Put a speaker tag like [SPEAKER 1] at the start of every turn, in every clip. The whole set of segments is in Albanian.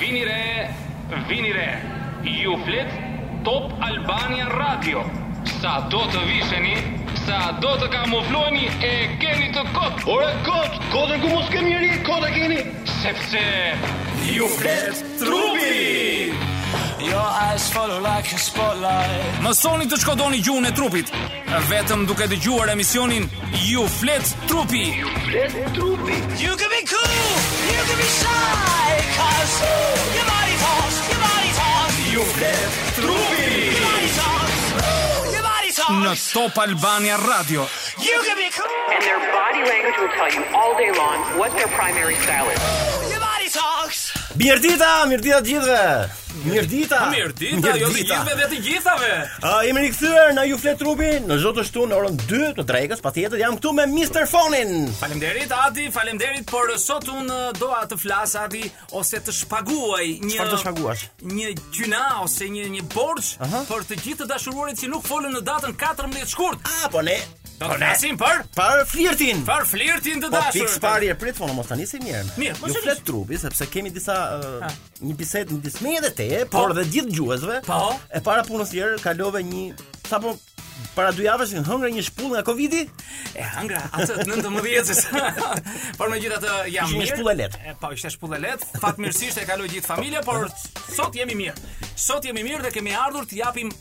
[SPEAKER 1] Vini re, vini re. Ju flet Top Albania Radio. Sa do të visheni, sa do të kamufloheni e keni të kot,
[SPEAKER 2] Ore kot, kotën ku mos kemi njëri, kota keni.
[SPEAKER 1] sepse
[SPEAKER 3] Ju flet trupi
[SPEAKER 4] Your eyes follow like a spotlight
[SPEAKER 3] Mësoni të shkodoni gjuhën e trupit Vetëm duke dëgjuar emisionin Ju flet trupi
[SPEAKER 2] Flet trupi.
[SPEAKER 4] You can be cool, you can be shy Cause ooh, your body talks, your body talks
[SPEAKER 3] Ju flet
[SPEAKER 4] Your body talks, ooh, your body
[SPEAKER 3] Në
[SPEAKER 4] talks
[SPEAKER 3] Top Albania Radio
[SPEAKER 4] You can be cool,
[SPEAKER 5] And their body language will tell you all day long what their primary style is.
[SPEAKER 4] your body talks
[SPEAKER 6] Mirdita, mirdita të gjithëve. Mirdita.
[SPEAKER 3] jo dhe të gjithave
[SPEAKER 6] Ë, jemi rikthyer në Ju flet trupi në çdo të shtunë në orën 2 të drekës, patjetër jam këtu me Mr. Fonin.
[SPEAKER 3] Falemderit Adi, falemderit Por sot unë doa të flas Adi Ose të shpaguaj një
[SPEAKER 6] Çfarë të shpaguash?
[SPEAKER 3] një gjyna ose një një borxh për të gjithë të dashuruarit që nuk folën në datën 14 shkurt.
[SPEAKER 6] A, po ne.
[SPEAKER 3] Do të flasim për
[SPEAKER 6] Për flirtin.
[SPEAKER 3] për flirtin të
[SPEAKER 6] Po
[SPEAKER 3] dashur.
[SPEAKER 6] fix pari e prit fono mos tani se mirë.
[SPEAKER 3] Mirë, mos e
[SPEAKER 6] Ju
[SPEAKER 3] nis.
[SPEAKER 6] flet trupi sepse kemi disa ë, një bisedë midis meje dhe teje, por dhe gjithë gjuhësve.
[SPEAKER 3] Po.
[SPEAKER 6] E para punës tjerë kalove një sapo para dy javësh në hëngra një shpull nga Covidi,
[SPEAKER 3] E hangra atë të 19-s. por megjithatë jam
[SPEAKER 6] Ishte një
[SPEAKER 3] mirë.
[SPEAKER 6] shpullë e lehtë.
[SPEAKER 3] E, Po ishte shpullë e lehtë. Fatmirësisht e kaloi gjithë familja, por sot jemi mirë. Sot jemi mirë dhe kemi ardhur të japim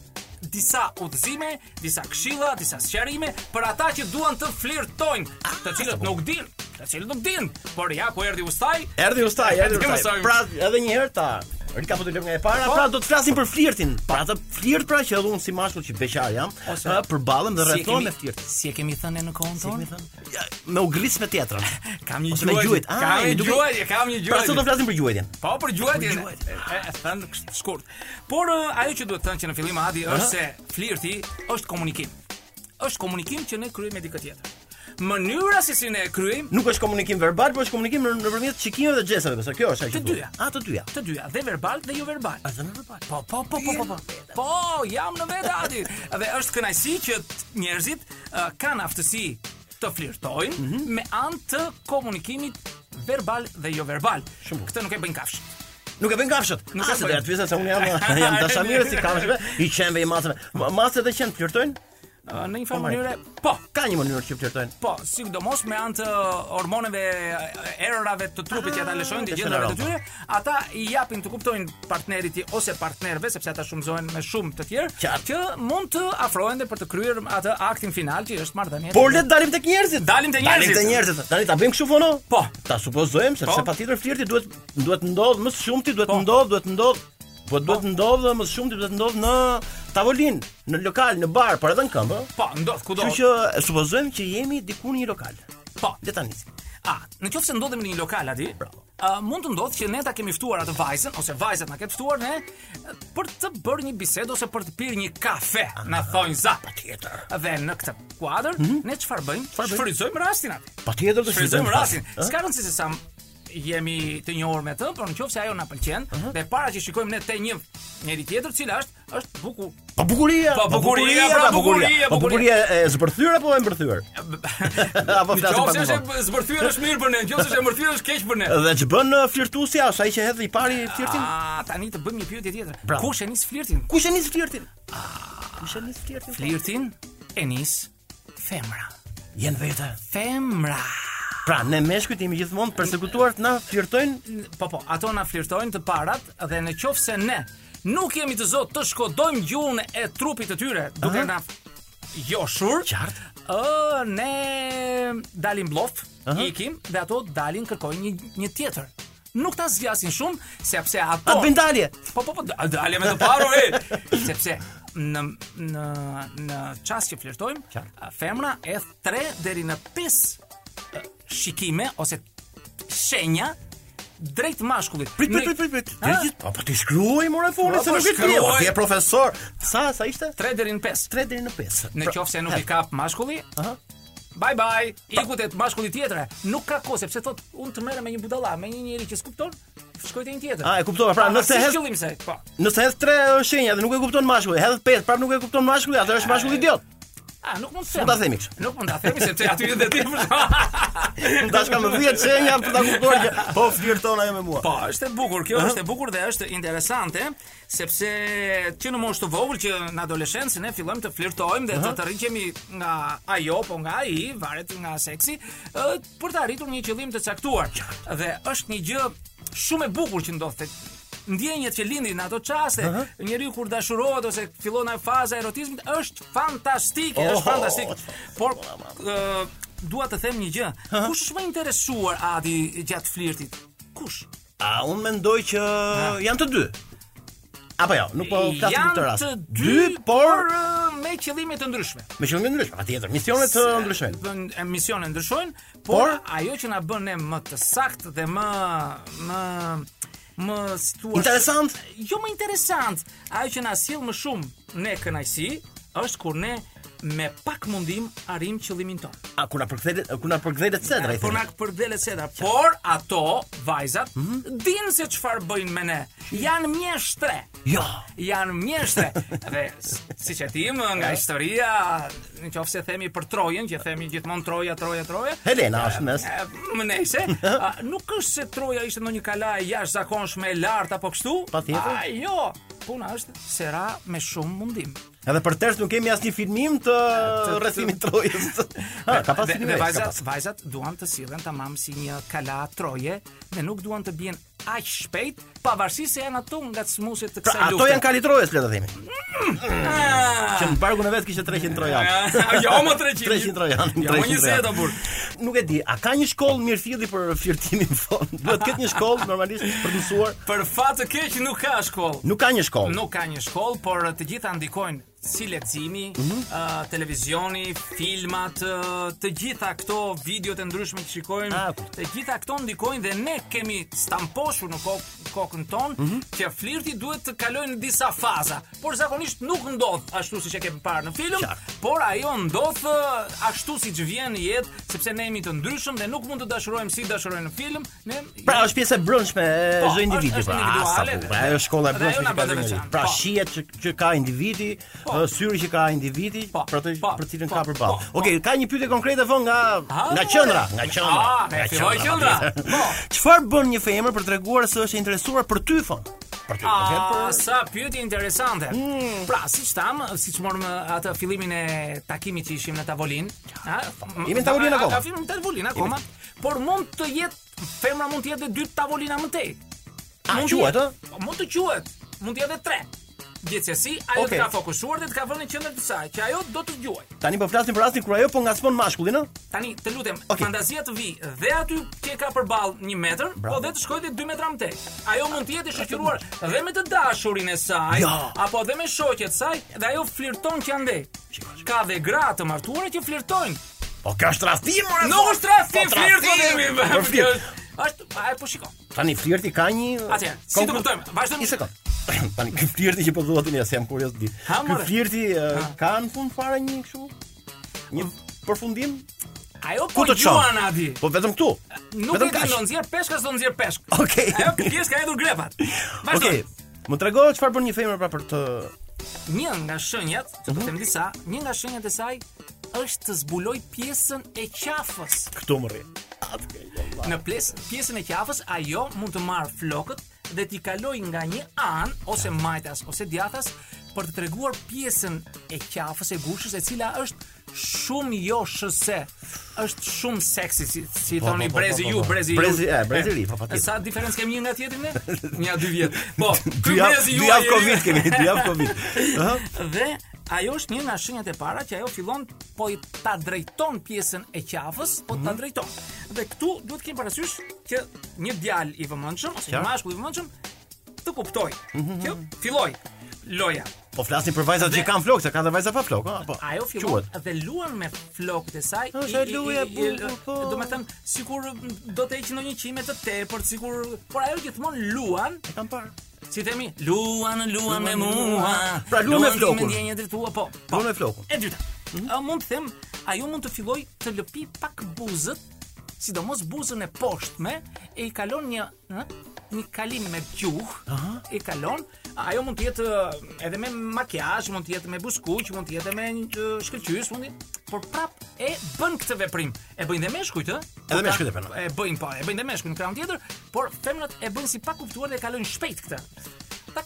[SPEAKER 3] disa udhëzime, disa këshilla, disa sqarime për ata që duan të flirtojnë, të cilët nuk dinë, të cilët nuk dinë, por ja ku erdhi ustaj,
[SPEAKER 6] erdhi ustaj, erdhi
[SPEAKER 3] Erdhi
[SPEAKER 6] ustaj.
[SPEAKER 3] ustaj.
[SPEAKER 6] Pra edhe një herë ta Rikapitulojmë nga e para, pra do të flasim për flirtin. Pra atë flirt pra që edhe unë si mashkull që beqar jam,
[SPEAKER 3] Ose-
[SPEAKER 6] ë, përballem dhe rrethon me flirt.
[SPEAKER 3] Si e kemi thënë në kohën tonë?
[SPEAKER 6] Ja, Me u gris me teatrën.
[SPEAKER 3] Kam një
[SPEAKER 6] Ose me
[SPEAKER 3] gjuajtje.
[SPEAKER 6] gjuajt. Ah,
[SPEAKER 3] Kam
[SPEAKER 6] e
[SPEAKER 3] një
[SPEAKER 6] duke-
[SPEAKER 3] gjuajtje, kam një
[SPEAKER 6] Pra sot do
[SPEAKER 3] gjuajtje.
[SPEAKER 6] flasim për gjuajtjen.
[SPEAKER 3] Po për gjuajtjen.
[SPEAKER 6] Për
[SPEAKER 3] E e thënë kësht- shkurt. Por e, ajo që duhet të thënë që në fillim Adi është se flirti është komunikim. Është komunikim që ne kryejmë me dikë tjetër. Mënyra se si ne e kryejmë
[SPEAKER 6] Nuk është komunikim verbal, por është komunikim në- nëpërmjet shikimeve dhe gjesave, besoj kjo është ajo që.
[SPEAKER 3] Të
[SPEAKER 6] duhet.
[SPEAKER 3] dyja.
[SPEAKER 6] A të dyja.
[SPEAKER 3] të dyja, dhe verbal dhe jo verbal.
[SPEAKER 6] A zënë verbal.
[SPEAKER 3] Po, po, po, po, po, po. Po, jam në vetë Adi. Dhe është kënaqësi që t- njerëzit uh, kanë aftësi të flirtojnë
[SPEAKER 6] Mhm.
[SPEAKER 3] me anë të komunikimit verbal dhe jo verbal.
[SPEAKER 6] Shumë.
[SPEAKER 3] Këtë nuk e bëjnë kafshët.
[SPEAKER 6] Nuk e bën kafshët.
[SPEAKER 3] Nuk
[SPEAKER 6] Nuk
[SPEAKER 3] e
[SPEAKER 6] e se
[SPEAKER 3] bën.
[SPEAKER 6] dhe pyesa se unë jam jam dashamirë si kafshëve, i qenve i masave. Ma- Masat dhe qen flirtojnë?
[SPEAKER 3] Uh, në një
[SPEAKER 6] Po,
[SPEAKER 3] farë
[SPEAKER 6] Mari.
[SPEAKER 3] mënyre, po,
[SPEAKER 6] Ka një mënyrë që flirtojnë.
[SPEAKER 3] po, sidomos me anë të hormoneve, e, erërave të trupit që ata
[SPEAKER 6] Ah,
[SPEAKER 3] lëshojnë
[SPEAKER 6] të
[SPEAKER 3] të gjendave të
[SPEAKER 6] shënderon,
[SPEAKER 3] tyre, ata i japin të kuptojnë partnerit i- ose partnerëve, sepse ata shumëzohen me shumë të tjerë,
[SPEAKER 6] Qartë.
[SPEAKER 3] që mund të afrohen dhe për të kryer atë aktin final që është marrëdhënia.
[SPEAKER 6] Por Po, le të dalim tek njerëzit.
[SPEAKER 3] Dalim tek njerëzit.
[SPEAKER 6] Dalim tek njerëzit. Tani ta bëjmë kështu fono?
[SPEAKER 3] Po.
[SPEAKER 6] Ta supozojmë sepse
[SPEAKER 3] Po.
[SPEAKER 6] patjetër flirti duhet duhet të ndodh më së shumti, duhet të
[SPEAKER 3] Po.
[SPEAKER 6] ndodh, duhet të ndodh. Po duhet
[SPEAKER 3] Po.
[SPEAKER 6] të ndodh dhe më së shumti duhet të ndodh në tavolinë, në lokal, në bar, por edhe në këmbë. ëh.
[SPEAKER 3] Po, ndodh kudo.
[SPEAKER 6] Kështu që e supozojmë që jemi diku në një lokal.
[SPEAKER 3] Po.
[SPEAKER 6] Le ta nisim.
[SPEAKER 3] A, në qoftë se ndodhemi në një lokal aty, a, mund të ndodhë që ne ta kemi ftuar atë vajzën ose vajzat na kanë ftuar ne për të bërë një bisedë ose për të pirë një kafe,
[SPEAKER 6] Ah,
[SPEAKER 3] na thonjë za.
[SPEAKER 6] Patjetër.
[SPEAKER 3] Dhe në këtë kuadër, ne çfarë bëjmë?
[SPEAKER 6] Mhm. bëjmë?
[SPEAKER 3] Shfrytëzojmë rastin aty.
[SPEAKER 6] Patjetër do
[SPEAKER 3] Shfrytëzojmë rastin.
[SPEAKER 6] Ëh?
[SPEAKER 3] S'ka rëndësi se sa m- jemi të njohur me të, por nëse ajo na pëlqen dhe para që shikojmë ne te një njëri tjetër, cila është është buku.
[SPEAKER 6] Pa bukuria.
[SPEAKER 3] Pa bukuria, pra bukuria,
[SPEAKER 6] Pa bukuria e zbërthyer apo e mbërthyer? Apo
[SPEAKER 3] Në
[SPEAKER 6] flasim
[SPEAKER 3] qoftë
[SPEAKER 6] pak
[SPEAKER 3] se
[SPEAKER 6] më
[SPEAKER 3] është
[SPEAKER 6] vonë.
[SPEAKER 3] e zbërthyer është mirë për ne, në qoftë se është e mërthyer është keq për ne.
[SPEAKER 6] Dhe që bën uh, flirtusi as ai që hedh i pari flirtin?
[SPEAKER 3] Ah, tani të bëjmë një pyetje tjetër.
[SPEAKER 6] Bravo.
[SPEAKER 3] Kush e nis flirtin?
[SPEAKER 6] Kush e nis flirtin? Kush e nis flirtin?
[SPEAKER 3] Flirtin e nis femra.
[SPEAKER 6] Jen vete.
[SPEAKER 3] Femra.
[SPEAKER 6] Pra, ne meshkujt jemi gjithmonë të përsekutuar të na flirtojnë
[SPEAKER 3] Po po, ato na flirtojnë të parat dhe në qoftë se ne nuk jemi të zot të shkodojmë gjuhën e trupit të tyre duke na
[SPEAKER 6] Aha.
[SPEAKER 3] joshur.
[SPEAKER 6] Qartë.
[SPEAKER 3] Ë, ne dalim blof,
[SPEAKER 6] Aha.
[SPEAKER 3] ikim dhe ato dalin kërkojnë një një tjetër. Nuk ta zgjasin shumë sepse ato
[SPEAKER 6] atë vendalje.
[SPEAKER 3] Po po po, da- dalje me të paru e. Sepse në në në çast që flirtojmë,
[SPEAKER 6] Qartë.
[SPEAKER 3] a, femra e 3 deri në 5 shikime ose shenja drejt mashkullit.
[SPEAKER 6] Prit,
[SPEAKER 3] Në-
[SPEAKER 6] prit, prit, prit, prit.
[SPEAKER 3] Ha?
[SPEAKER 6] Të gjithë, po ti shkruaj more
[SPEAKER 3] Po,
[SPEAKER 6] fona se
[SPEAKER 3] po,
[SPEAKER 6] nuk e di. Po,
[SPEAKER 3] shkruaj.
[SPEAKER 6] Ti je profesor. Sa sa ishte?
[SPEAKER 3] 3 deri në 5.
[SPEAKER 6] 3 deri në 5.
[SPEAKER 3] Në qoftë se nuk i kap mashkulli,
[SPEAKER 6] Pra, Aha.
[SPEAKER 3] Bye bye. Iku te mashkulli tjetër. Nuk ka kohë sepse thot unë të merrem me një budalla, me një njerëz që s'kupton, shkoj te një tjetër.
[SPEAKER 6] A, e kuptova, pra, nëse
[SPEAKER 3] si
[SPEAKER 6] hes-
[SPEAKER 3] qëllim se, po.
[SPEAKER 6] Nëse hedh 3 shenja dhe nuk e kupton mashkulli, hedh 5, prapë nuk e kupton mashkulli, atë është mashkull idiot.
[SPEAKER 3] A, nuk mund të
[SPEAKER 6] Mund ta themi kështu.
[SPEAKER 3] Nuk mund ta themi sepse aty edhe ti për shkak.
[SPEAKER 6] Tash kam 10 shenja për ta kuptuar që po flirton ajo me mua.
[SPEAKER 3] Po, është e bukur kjo, është e bukur dhe është interesante, sepse që në moshë të vogël që në adoleshencë ne fillojmë të flirtojmë dhe të të rriqemi nga ajo, po nga ai, varet nga seksi, ë, për të arritur një qëllim të caktuar. Dhe është një gjë shumë e bukur që ndodh tek ndjenjet që lindin në ato çaste, njeriu kur dashurohet ose fillon ajo faza e erotizmit është fantastike, është
[SPEAKER 6] Oho,
[SPEAKER 3] fantastik.
[SPEAKER 6] çfarë
[SPEAKER 3] Por
[SPEAKER 6] bukur, ama.
[SPEAKER 3] ë, dua të them një gjë. Kush është më interesuar Adi gjatë flirtit? Kush?
[SPEAKER 6] A unë mendoj që janë të dy. Apo jo, nuk po flasim për
[SPEAKER 3] janë
[SPEAKER 6] këtë rast.
[SPEAKER 3] të dy,
[SPEAKER 6] Dy, por
[SPEAKER 3] ë, me qëllime të ndryshme.
[SPEAKER 6] me qëllim të ndryshëm. Patjetër, misione të ndryshojnë.
[SPEAKER 3] Bën- e, Misione ndryshojnë, por,
[SPEAKER 6] Por?
[SPEAKER 3] ajo që na bën ne më të saktë dhe më më më si thua-
[SPEAKER 6] Interesant.
[SPEAKER 3] Jo më interesant, ajo që na sjell më shumë ne kënaqësi është kur ne me pak mundim arrim qëllimin tonë.
[SPEAKER 6] A kur na përkthehet, kur na përkthehet se drejtë.
[SPEAKER 3] Po na përdelet seda, por ato vajzat
[SPEAKER 6] Mhm.
[SPEAKER 3] dinë se çfarë bëjnë me ne. Janë mjeshtre.
[SPEAKER 6] Jo.
[SPEAKER 3] Janë mjeshtre. Dhe s- siç e tim nga historia, nëse themi për Trojën, që themi gjithmonë Troja, Troja, Troja.
[SPEAKER 6] Helena është në mes.
[SPEAKER 3] Më nejse, a, nuk është se Troja ishte në një kala e jashtë zakonshme e lartë apo kështu
[SPEAKER 6] Patjetër.
[SPEAKER 3] A, jo, puna është se ra me shumë mundim
[SPEAKER 6] Edhe për tërës nuk kemi asnjë filmim të rrethimit Trojës. Ha, ka pas
[SPEAKER 3] Dhe,
[SPEAKER 6] filmim.
[SPEAKER 3] dhe
[SPEAKER 6] ka
[SPEAKER 3] vajzat,
[SPEAKER 6] pas.
[SPEAKER 3] vajzat duan të sillen tamam si një kala troje dhe nuk duan të bien aq shpejt, pavarësisht se janë ato nga smuset të kësaj
[SPEAKER 6] Pra, ato
[SPEAKER 3] lufte. Ah!
[SPEAKER 6] janë kali Trojës, le ta themi. Që në barkun e vet kishte 300 trojan.
[SPEAKER 3] jo më 300.
[SPEAKER 6] 300 trojan,
[SPEAKER 3] Jo më
[SPEAKER 6] 300
[SPEAKER 3] një
[SPEAKER 6] trojan.
[SPEAKER 3] setë burr.
[SPEAKER 6] Nuk e di, a ka një shkollë mirëfilli për flirtimin në fond? Duhet të ketë një shkollë normalisht për të mësuar.
[SPEAKER 3] Për fat të keq nuk ka shkollë.
[SPEAKER 6] Nuk ka një shkollë.
[SPEAKER 3] Nuk ka një shkollë, por të gjitha ndikojnë si leximi,
[SPEAKER 6] Mhm.
[SPEAKER 3] ë, televizioni, filmat, ë, të gjitha këto videot e ndryshme që shikojmë,
[SPEAKER 6] Ah, kuptoj.
[SPEAKER 3] të gjitha këto ndikojnë dhe ne kemi stamposhur në kok kokën tonë
[SPEAKER 6] Mhm.
[SPEAKER 3] që flirti duhet të kalojë në disa faza, por zakonisht nuk ndodh ashtu siç e kemi parë në film,
[SPEAKER 6] Qartë.
[SPEAKER 3] por ajo ndodh ë, ashtu siç vjen në jetë, sepse ne jemi të ndryshëm dhe nuk mund të dashurojmë si dashurojmë në film, ne
[SPEAKER 6] Pra është pjesë e brendshme e
[SPEAKER 3] Po,
[SPEAKER 6] çdo individi.
[SPEAKER 3] është- është
[SPEAKER 6] Pra,
[SPEAKER 3] individuale,
[SPEAKER 6] sa bukur, pra, ajo është shkolla e
[SPEAKER 3] dhe ajo
[SPEAKER 6] brendshme
[SPEAKER 3] na
[SPEAKER 6] që ka
[SPEAKER 3] bën
[SPEAKER 6] dhe njeriu.
[SPEAKER 3] veçantë,
[SPEAKER 6] Pra
[SPEAKER 3] po.
[SPEAKER 6] shihet që, që ka individi, ë, syri që ka individi,
[SPEAKER 3] Po,
[SPEAKER 6] për atë
[SPEAKER 3] po,
[SPEAKER 6] për cilën
[SPEAKER 3] po,
[SPEAKER 6] ka përballë.
[SPEAKER 3] po, po.
[SPEAKER 6] Okej, ka një pyetje konkrete von nga
[SPEAKER 3] Ah,
[SPEAKER 6] nga qendra,
[SPEAKER 3] more.
[SPEAKER 6] nga qendra.
[SPEAKER 3] Ah, e filloi qendra.
[SPEAKER 6] patjetër.
[SPEAKER 3] Po.
[SPEAKER 6] Çfarë bën një femër për treguar se është e interesuar për ty fon? Për ty, për vetë
[SPEAKER 3] Ah,
[SPEAKER 6] për Mm.
[SPEAKER 3] sa pyetje interesante. Pra, siç tham, siç morëm uh, atë fillimin e takimit që ishim në tavolinë, ha?
[SPEAKER 6] Jemi në tavolinë
[SPEAKER 3] A- a-
[SPEAKER 6] akoma.
[SPEAKER 3] a- Jemi në tavolinë akoma, por mund të jetë femra mund të jetë dhe dy tavolina më tej.
[SPEAKER 6] A,
[SPEAKER 3] Mund të
[SPEAKER 6] quhet,
[SPEAKER 3] jetë-
[SPEAKER 6] ë?
[SPEAKER 3] Po, Mund të quhet. Mund të jetë dhe tre. Gjithsesi, ajo
[SPEAKER 6] Okej.
[SPEAKER 3] të ka fokusuar dhe të ka vënë në qendër të saj, që ajo do të dëgjojë.
[SPEAKER 6] Tani po flasim për rastin kur ajo po ngacmon mashkullin, ë?
[SPEAKER 3] Tani, të lutem,
[SPEAKER 6] Okej.
[SPEAKER 3] fantazia të vi dhe aty që e ka përball 1 metër,
[SPEAKER 6] Bravo.
[SPEAKER 3] po dhe të shkojë dhe 2 metra më tej. Ajo mund të jetë e shoqëruar dhe me të dashurin e saj,
[SPEAKER 6] Ja.
[SPEAKER 3] apo dhe me shoqet e saj, dhe ajo flirton që ande.
[SPEAKER 6] Shiko, shiko.
[SPEAKER 3] Ka dhe gra të martuara që flirtojnë.
[SPEAKER 6] Po ka shtraftim, ora.
[SPEAKER 3] Nuk është rasti
[SPEAKER 6] po,
[SPEAKER 3] flirt, po
[SPEAKER 6] traftim,
[SPEAKER 3] themi.
[SPEAKER 6] po, flirt.
[SPEAKER 3] Është, a e po shiko.
[SPEAKER 6] Tani flirti ka një
[SPEAKER 3] Atëherë, si të
[SPEAKER 6] Konkre-
[SPEAKER 3] kuptojmë? Vazhdojmë.
[SPEAKER 6] Po, Një sekond. Tani ky flirti që po dua tani se jam kurioz di.
[SPEAKER 3] Ha,
[SPEAKER 6] Ky
[SPEAKER 3] more.
[SPEAKER 6] flirti e, ka në fund fare një kështu një përfundim?
[SPEAKER 3] Ajo po
[SPEAKER 6] Ku të
[SPEAKER 3] gjuan
[SPEAKER 6] çon?
[SPEAKER 3] adi.
[SPEAKER 6] Po vetëm këtu.
[SPEAKER 3] Nuk e
[SPEAKER 6] vetëm
[SPEAKER 3] di,
[SPEAKER 6] kaq.
[SPEAKER 3] do nxjerr peshkës, do nxjerr peshk.
[SPEAKER 6] Okej.
[SPEAKER 3] Ajo pjesë ka hedhur grepat. Vazhdo.
[SPEAKER 6] Okej. Më trego çfarë bën një femër pra për të
[SPEAKER 3] Një nga shenjat, se
[SPEAKER 6] Mhm.
[SPEAKER 3] po them disa, një nga shenjat e saj është të zbuloj pjesën e qafës.
[SPEAKER 6] këtu më rri.
[SPEAKER 3] Në ples, pjesën e qafës ajo mund të marr flokët dhe t'i kaloj nga një anë ose majtas ose djathas për të treguar pjesën e qafës e gushës e cila është shumë joshëse. Është shumë seksi si, si
[SPEAKER 6] Po,
[SPEAKER 3] thoni
[SPEAKER 6] po, po,
[SPEAKER 3] brezi
[SPEAKER 6] po, po,
[SPEAKER 3] ju,
[SPEAKER 6] po.
[SPEAKER 3] brezi ju.
[SPEAKER 6] Brezi- e, brezi ri, po, patjetër.
[SPEAKER 3] Sa diferencë kemi një nga tjetri ne? Një dy vjet. Po, ky
[SPEAKER 6] Dy javë
[SPEAKER 3] brezi ju.
[SPEAKER 6] dy javë Covid kemi, dy javë Covid. Ëh.
[SPEAKER 3] Dhe ajo është një nga shenjat e para që ajo fillon po i ta drejton pjesën e qafës, po
[SPEAKER 6] Mhm.
[SPEAKER 3] ta drejton. Dhe këtu duhet të kemi parasysh që një djalë i vëmendshëm ose një
[SPEAKER 6] Qartë. Mhm.
[SPEAKER 3] mashkull i vëmendshëm të kuptoj që filloi loja.
[SPEAKER 6] Po flasim për vajzat që kanë flokë, se kanë dhe vajza pa flokë, ha, po.
[SPEAKER 3] Ajo fillon
[SPEAKER 6] Quhet.
[SPEAKER 3] dhe luan me flokët e saj.
[SPEAKER 6] Është
[SPEAKER 3] i- i- i-
[SPEAKER 6] luja e
[SPEAKER 3] i-
[SPEAKER 6] bukur, po.
[SPEAKER 3] Do të them sikur do të heqë ndonjë qime të tepërt, sikur por ajo gjithmonë luan
[SPEAKER 6] E kanë parë.
[SPEAKER 3] Si themi, luan, luan me mua.
[SPEAKER 6] Pra, luan me
[SPEAKER 3] ti
[SPEAKER 6] flokun.
[SPEAKER 3] Me ndjenjë drejtua, po. po.
[SPEAKER 6] Luan me flokun. Mhm.
[SPEAKER 3] E dyta. A, mund të them, ajo mund të filloj të lëpi pak buzët, sidomos buzën e poshtme, e i kalon një, ë, një kalim me gjuh, i kalon ajo mund të jetë ë, edhe me makiazh, mund të jetë me buzkuq, mund të jetë edhe me një ë, shkëlqys, mund të por prap e bën këtë veprim. E bëjnë dhe meshkujt, ë?
[SPEAKER 6] Edhe
[SPEAKER 3] Po,
[SPEAKER 6] meshkujt
[SPEAKER 3] ka-
[SPEAKER 6] e bëjnë.
[SPEAKER 3] E bëjnë po, e bëjnë dhe meshkujt në krahun tjetër, por femrat e bëjnë si pa kuptuar dhe e kalojnë shpejt këtë. Tak,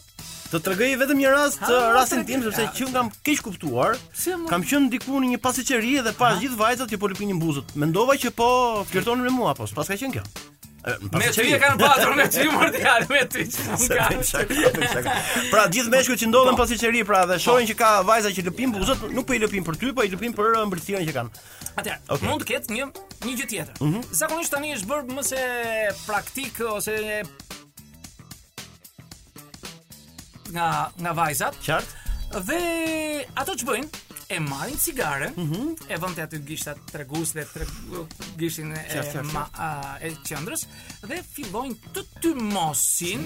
[SPEAKER 6] Të tregoj vetëm një rast,
[SPEAKER 3] Ha,
[SPEAKER 6] uh, rastin
[SPEAKER 3] tregoj.
[SPEAKER 6] tim sepse
[SPEAKER 3] Ja.
[SPEAKER 6] që kam keq kuptuar.
[SPEAKER 3] Si, mo?
[SPEAKER 6] Kam qenë diku në një pasiqeri dhe pas gjithë vajzat që po lëpinin buzët. Mendova që po flirtonin me mua, po s'pas ka qenë kjo. E, në
[SPEAKER 3] me ty
[SPEAKER 6] pasiqeri.
[SPEAKER 3] e kanë patur, me ty mordial, me ty. që nuk
[SPEAKER 6] Se
[SPEAKER 3] ka.
[SPEAKER 6] bëjmë shaka, bëjmë shaka.
[SPEAKER 3] po-
[SPEAKER 6] Pra gjithë meshkujt që ndodhen pas qeqeri, pra dhe shohin që ka vajza që lëpin buzët, nuk po i lëpin për ty, po i lëpin për uh, mbërthirën që kanë.
[SPEAKER 3] Atëherë,
[SPEAKER 6] Okej.
[SPEAKER 3] mund të ketë një një gjë tjetër. Zakonisht tani është bërë më se praktik ose nga nga vajzat
[SPEAKER 6] Qartë?
[SPEAKER 3] dhe ato ç'bëjnë e marrin cigaren, e vënë te aty gishtat tregus dhe treg, gishtin e,
[SPEAKER 6] Qartë, qartë,
[SPEAKER 3] ma, a, e qendrës dhe fillojnë të tymosin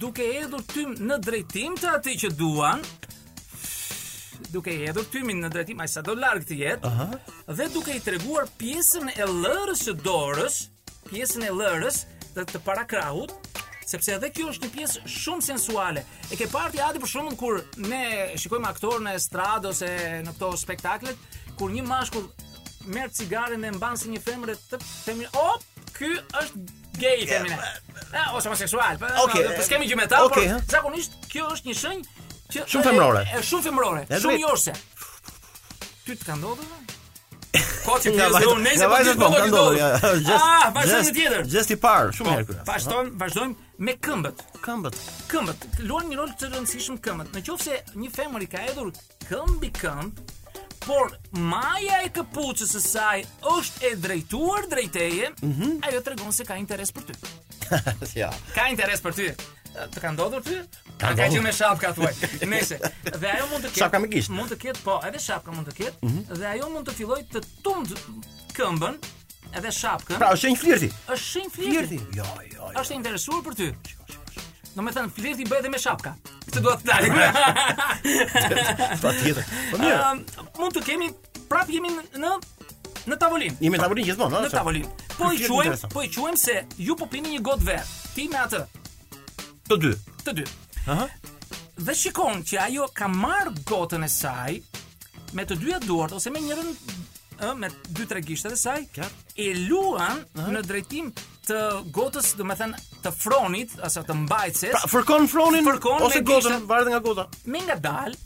[SPEAKER 3] duke hedhur tym në drejtim të atij që duan, duke i hedhur tymin në drejtim ai sa do larg të jetë. Dhe duke i treguar pjesën e lërës së dorës, pjesën e lërës të, të parakrahut, sepse edhe kjo është një pjesë shumë sensuale. E ke parë ti Adi për shkakun kur ne shikojmë aktorë në estradë ose në këto spektaklet, kur një mashkull merr cigaren dhe mban si një femër e të femër, op, ky është gay femina. Ah, ose homoseksual. Po
[SPEAKER 6] Okej,
[SPEAKER 3] okay, s'kemi gjë me ta,
[SPEAKER 6] okej, ha.
[SPEAKER 3] por zakonisht kjo është një shenjë që
[SPEAKER 6] Shumë femërore.
[SPEAKER 3] E, e shumë femërore,
[SPEAKER 6] E
[SPEAKER 3] shumë
[SPEAKER 6] drejt.
[SPEAKER 3] jorse. Ty të ka ndodhur? Ko që pjesë
[SPEAKER 6] Nga vajzat-
[SPEAKER 3] do unë
[SPEAKER 6] nga
[SPEAKER 3] nëse po
[SPEAKER 6] vajzat
[SPEAKER 3] ti po
[SPEAKER 6] po, ka
[SPEAKER 3] do
[SPEAKER 6] ndodhur, ja,
[SPEAKER 3] të.
[SPEAKER 6] just-
[SPEAKER 3] Ah, vazhdojmë
[SPEAKER 6] just-
[SPEAKER 3] në tjetër. Po,
[SPEAKER 6] Just i parë, shumë herë kjo.
[SPEAKER 3] Vazhdojmë, vazhdojmë me këmbët.
[SPEAKER 6] Këmbët.
[SPEAKER 3] Këmbët luajnë një rol të rëndësishëm këmbët. Nëse një femër i ka hedhur këmbi këmb, por maja e këpucës së saj është e drejtuar drejteje,
[SPEAKER 6] Mhm.
[SPEAKER 3] ajo tregon se ka interes për ty.
[SPEAKER 6] Ja.
[SPEAKER 3] Ka interes për ty. Të ka ndodhur ty?
[SPEAKER 6] Ka
[SPEAKER 3] Ka ka
[SPEAKER 6] ndodhur.
[SPEAKER 3] qenë me shapka thuaj. Nëse dhe ajo mund të ketë
[SPEAKER 6] Shapka Mhm. me gisht.
[SPEAKER 3] Mund të ketë, po, edhe shapka mund të ketë dhe ajo mund të filloj të tund këmbën edhe shapkën.
[SPEAKER 6] Pra, është një flirti.
[SPEAKER 3] është shenjë flirti.
[SPEAKER 6] Flirti. Jo, jo. jo.
[SPEAKER 3] Është e interesuar për ty. Do me thënë, flirti bëhet dhe me shapka. Këtë duhet të dalim.
[SPEAKER 6] Patjetër. Po mirë.
[SPEAKER 3] Ëm, mund të kemi prap jemi në- në në tavolinë.
[SPEAKER 6] Jemi në tavolinë gjithmonë,
[SPEAKER 3] në tavolinë. Po i
[SPEAKER 6] Flirti
[SPEAKER 3] quajmë,
[SPEAKER 6] interesant.
[SPEAKER 3] po i quajmë se ju po pini një gotë verë. Ti me atë,
[SPEAKER 6] Të dy.
[SPEAKER 3] të dy. Dhe shikon që ajo ka marrë gotën e saj me të dyja duart ose me njërin ë me dy tre gishtat e saj
[SPEAKER 6] Klar.
[SPEAKER 3] e luan në drejtim të gotës, do të thënë të fronit, ose të mbajtëses,
[SPEAKER 6] Pra, fërkon fronin
[SPEAKER 3] Fërkon me
[SPEAKER 6] ose
[SPEAKER 3] gishtat.
[SPEAKER 6] gotën, varet nga gota.
[SPEAKER 3] me nga dal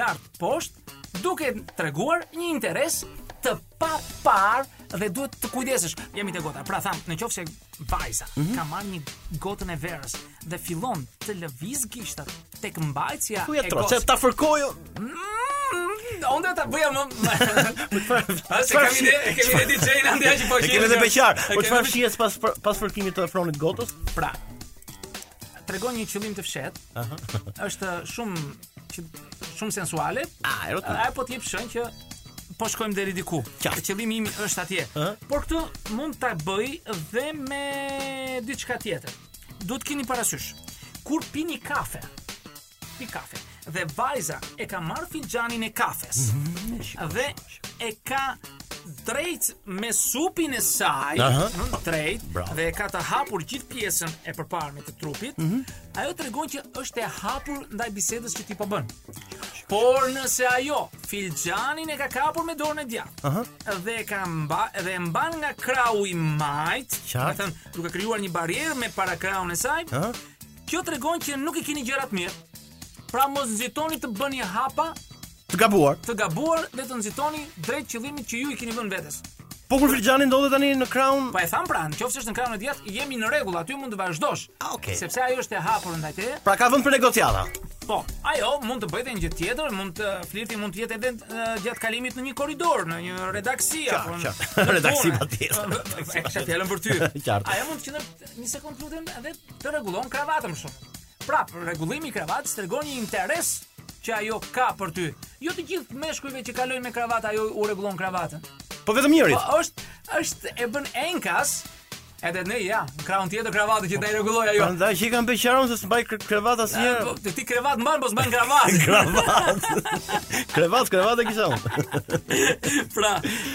[SPEAKER 3] lart poshtë, duke treguar një interes të pa par dhe duhet të kujdesesh. Jemi te gota. Pra tham, në qoftë se vajza
[SPEAKER 6] Mhm.
[SPEAKER 3] ka marrë një gotën e verës dhe fillon të lëviz gishtat tek mbajtësja
[SPEAKER 6] Ku ja
[SPEAKER 3] e
[SPEAKER 6] tro,
[SPEAKER 3] gotës.
[SPEAKER 6] se ta fërkojo.
[SPEAKER 3] Onda ta bëja më. Ha se
[SPEAKER 6] çfarë
[SPEAKER 3] kam ide,
[SPEAKER 6] fshi-
[SPEAKER 3] kemi ide DJ në ndaj që po
[SPEAKER 6] E
[SPEAKER 3] qenë
[SPEAKER 6] kemi edhe
[SPEAKER 3] kjo.
[SPEAKER 6] beqar.
[SPEAKER 3] E
[SPEAKER 6] Po
[SPEAKER 3] kemi
[SPEAKER 6] çfarë
[SPEAKER 3] edhe-
[SPEAKER 6] shihet pas pas fërkimit të fronit gotës?
[SPEAKER 3] Pra. Tregon një qëllim të fshet. Është shumë që, shumë sensuale.
[SPEAKER 6] Ah, erotik.
[SPEAKER 3] Ai po të jep shenjë që po shkojmë deri diku.
[SPEAKER 6] Qartë.
[SPEAKER 3] Qëllimi im është atje.
[SPEAKER 6] Aha.
[SPEAKER 3] Por këtë mund ta bëj dhe me diçka tjetër. Duhet keni parasysh. Kur pini kafe, pi kafe dhe vajza e ka marr filxhanin e
[SPEAKER 6] Mhm.
[SPEAKER 3] kafes dhe e ka drejt me supin e saj,
[SPEAKER 6] Aha.
[SPEAKER 3] ëh, drejt
[SPEAKER 6] Bravo.
[SPEAKER 3] dhe e ka të hapur gjithë pjesën e përparme të trupit,
[SPEAKER 6] Mhm.
[SPEAKER 3] ajo tregon që është e hapur ndaj bisedës që ti po bën. Por nëse ajo filxhanin e ka kapur me dorën e djathtë dhe e ka mba dhe e mban nga krau i majt,
[SPEAKER 6] Qartë.
[SPEAKER 3] thënë duke krijuar një barrierë me para kraun e saj,
[SPEAKER 6] Ëh?
[SPEAKER 3] Kjo të regon që nuk i keni gjërat mirë Pra mos nëzitoni të bëni hapa
[SPEAKER 6] Të gabuar.
[SPEAKER 3] Të gabuar dhe të nëzitoni drejt qëllimit që ju i keni vënë vetes
[SPEAKER 6] Po kur filxhani ndodhet tani në Crown,
[SPEAKER 3] Pa e tham pra, në qofë është në krahun e djathtë Jemi në regull, aty mund të vazhdosh
[SPEAKER 6] Ah, okay.
[SPEAKER 3] Sepse ajo është e hapur ndaj teje
[SPEAKER 6] pra ka vend për negociata.
[SPEAKER 3] Po, ajo mund të bëjë edhe një gjë tjetër Mund të flirti mund të jetë edhe uh, gjatë kalimit në një koridor Në një redaksi
[SPEAKER 6] Qartë,
[SPEAKER 3] apo në-
[SPEAKER 6] qartë.
[SPEAKER 3] në punë.
[SPEAKER 6] Redaksi, patjetër.
[SPEAKER 3] E kisha fjalën për ty
[SPEAKER 6] Qartë.
[SPEAKER 3] Ajo mund të qëndër një sekundë lutem edhe të rregullon kravatën për shkakun. Prap, rregullimi i kravatës tregon një interes që ajo ka për ty. Jo të gjithë meshkujve që kalojnë me kravatë ajo u rregullon kravatën.
[SPEAKER 6] Po vetëm njërit.
[SPEAKER 3] Po është është e bën enkas edhe ne ja, në krahun tjetër kravatë që ta i rregulloj ajo.
[SPEAKER 6] Prandaj që i kanë beqaron se s'mbaj kre- krevat
[SPEAKER 3] Eh,
[SPEAKER 6] asnjëherë.
[SPEAKER 3] jo. Po ti krevat mban, po s'ban kravatë.
[SPEAKER 6] Krevat. krevat, krevat e kisha unë.
[SPEAKER 3] pra,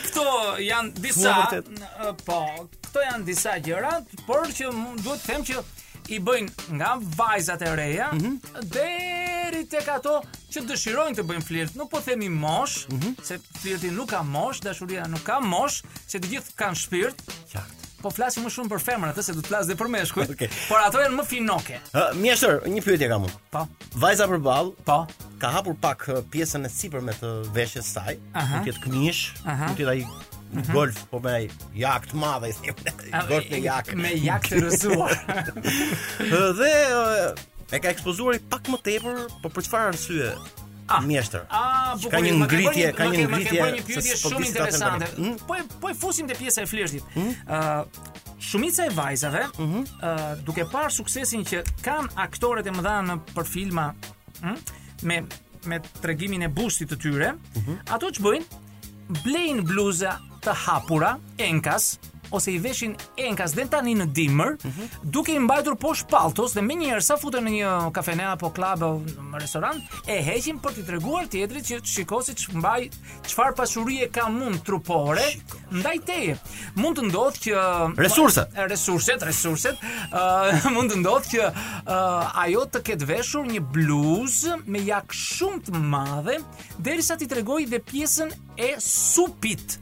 [SPEAKER 3] këto janë disa,
[SPEAKER 6] Mua vërtet.
[SPEAKER 3] n- po, këto janë disa gjëra, por që m- duhet të them që i bëjnë nga vajzat e reja
[SPEAKER 6] Mhm.
[SPEAKER 3] deri tek ato që dëshirojnë të bëjnë flirt. Nuk po themi mosh,
[SPEAKER 6] Mhm.
[SPEAKER 3] se flirti nuk ka mosh, dashuria nuk ka mosh, se të gjithë kanë shpirt.
[SPEAKER 6] Qartë.
[SPEAKER 3] Po flasim më shumë për femrat, ëh, se do të flas dhe për meshkujt,
[SPEAKER 6] Okej.
[SPEAKER 3] por ato janë më finoke.
[SPEAKER 6] Ë, mjeshtër, një pyetje kam unë.
[SPEAKER 3] Po.
[SPEAKER 6] Vajza përballë
[SPEAKER 3] Po.
[SPEAKER 6] ka hapur pak ë, pjesën e sipërme të veshjes së saj,
[SPEAKER 3] Aha.
[SPEAKER 6] mund të jetë këmish,
[SPEAKER 3] Aha.
[SPEAKER 6] mund të jetë ai golf, po me ai jak të madh, ai thënë, golf me jak.
[SPEAKER 3] Me jak të rëzuar.
[SPEAKER 6] Ë, dhe ë, e ka ekspozuar i pak më tepër, po për çfarë arsye?
[SPEAKER 3] Ah.
[SPEAKER 6] mjeshtër.
[SPEAKER 3] Ah, bukur.
[SPEAKER 6] Ka një
[SPEAKER 3] ma ke bërë
[SPEAKER 6] ngritje, ka
[SPEAKER 3] ma
[SPEAKER 6] një
[SPEAKER 3] ma ke
[SPEAKER 6] ngritje
[SPEAKER 3] bërë një pyetje
[SPEAKER 6] se s'po
[SPEAKER 3] shumë
[SPEAKER 6] di si ta them
[SPEAKER 3] interesante.
[SPEAKER 6] tani. Hmm? Mm?
[SPEAKER 3] Po e- po e fusim te pjesa e flirtit. Ë Shumica e vajzave, ë
[SPEAKER 6] Mhm.
[SPEAKER 3] duke parë suksesin që kanë aktorët e mëdha në për filma, hm, me me tregimin e bushtit të tyre, ato ç'bëjnë? Blejnë bluza të hapura, enkas, ose i veshin enkas dhe tani në dimër, duke i mbajtur poshtë paltos dhe me njëherë sa futen në një kafene apo klub o në restorant, e heqin për t'i treguar tjetrit që shiko si ç'mbaj, çfarë pasurie ka mund trupore ndaj teje. Mund të ndodhë që
[SPEAKER 6] Resurse.
[SPEAKER 3] resurset, resurset, ë mund të ndodhë që ë, ajo të ketë veshur një bluzë me jak shumë të madhe, derisa t'i tregoj dhe pjesën e supit.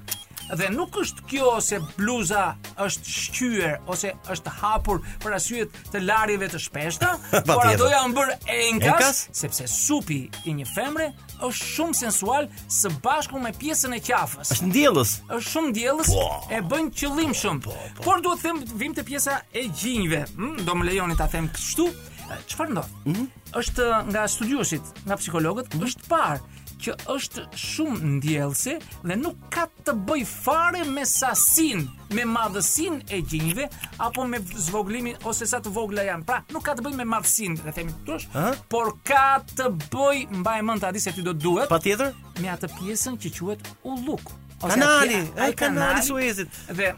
[SPEAKER 3] Dhe nuk është kjo se bluza është shqyer ose është hapur për arsye të larjeve të shpeshta, por ato
[SPEAKER 6] tjetër.
[SPEAKER 3] janë bërë enkas,
[SPEAKER 6] Enkas?
[SPEAKER 3] sepse supi i një femre është shumë sensual së bashku me pjesën e qafës
[SPEAKER 6] Është ndjellës.
[SPEAKER 3] është shumë djellës, e bën qëllim shumë. Por duhet të them vim te pjesa e gjinjve. Hm, do më lejoni ta them kështu. E, Çfarë ndodh? Është nga studiuesit, nga psikologët, është parë që është shumë ndjellëse dhe nuk ka të bëj fare me sasin, me madhësin e gjinjve apo me zvoglimin ose sa të vogla janë. Pra, nuk ka të bëj me madhësin, dhe themi këtush, por ka të bëj mbaj mend ta di se ty do të duhet
[SPEAKER 6] Patjetër?
[SPEAKER 3] me atë pjesën që quhet ulluk. Ose
[SPEAKER 6] Kanali,
[SPEAKER 3] atje-
[SPEAKER 6] ai kanali Suezit.
[SPEAKER 3] Dhe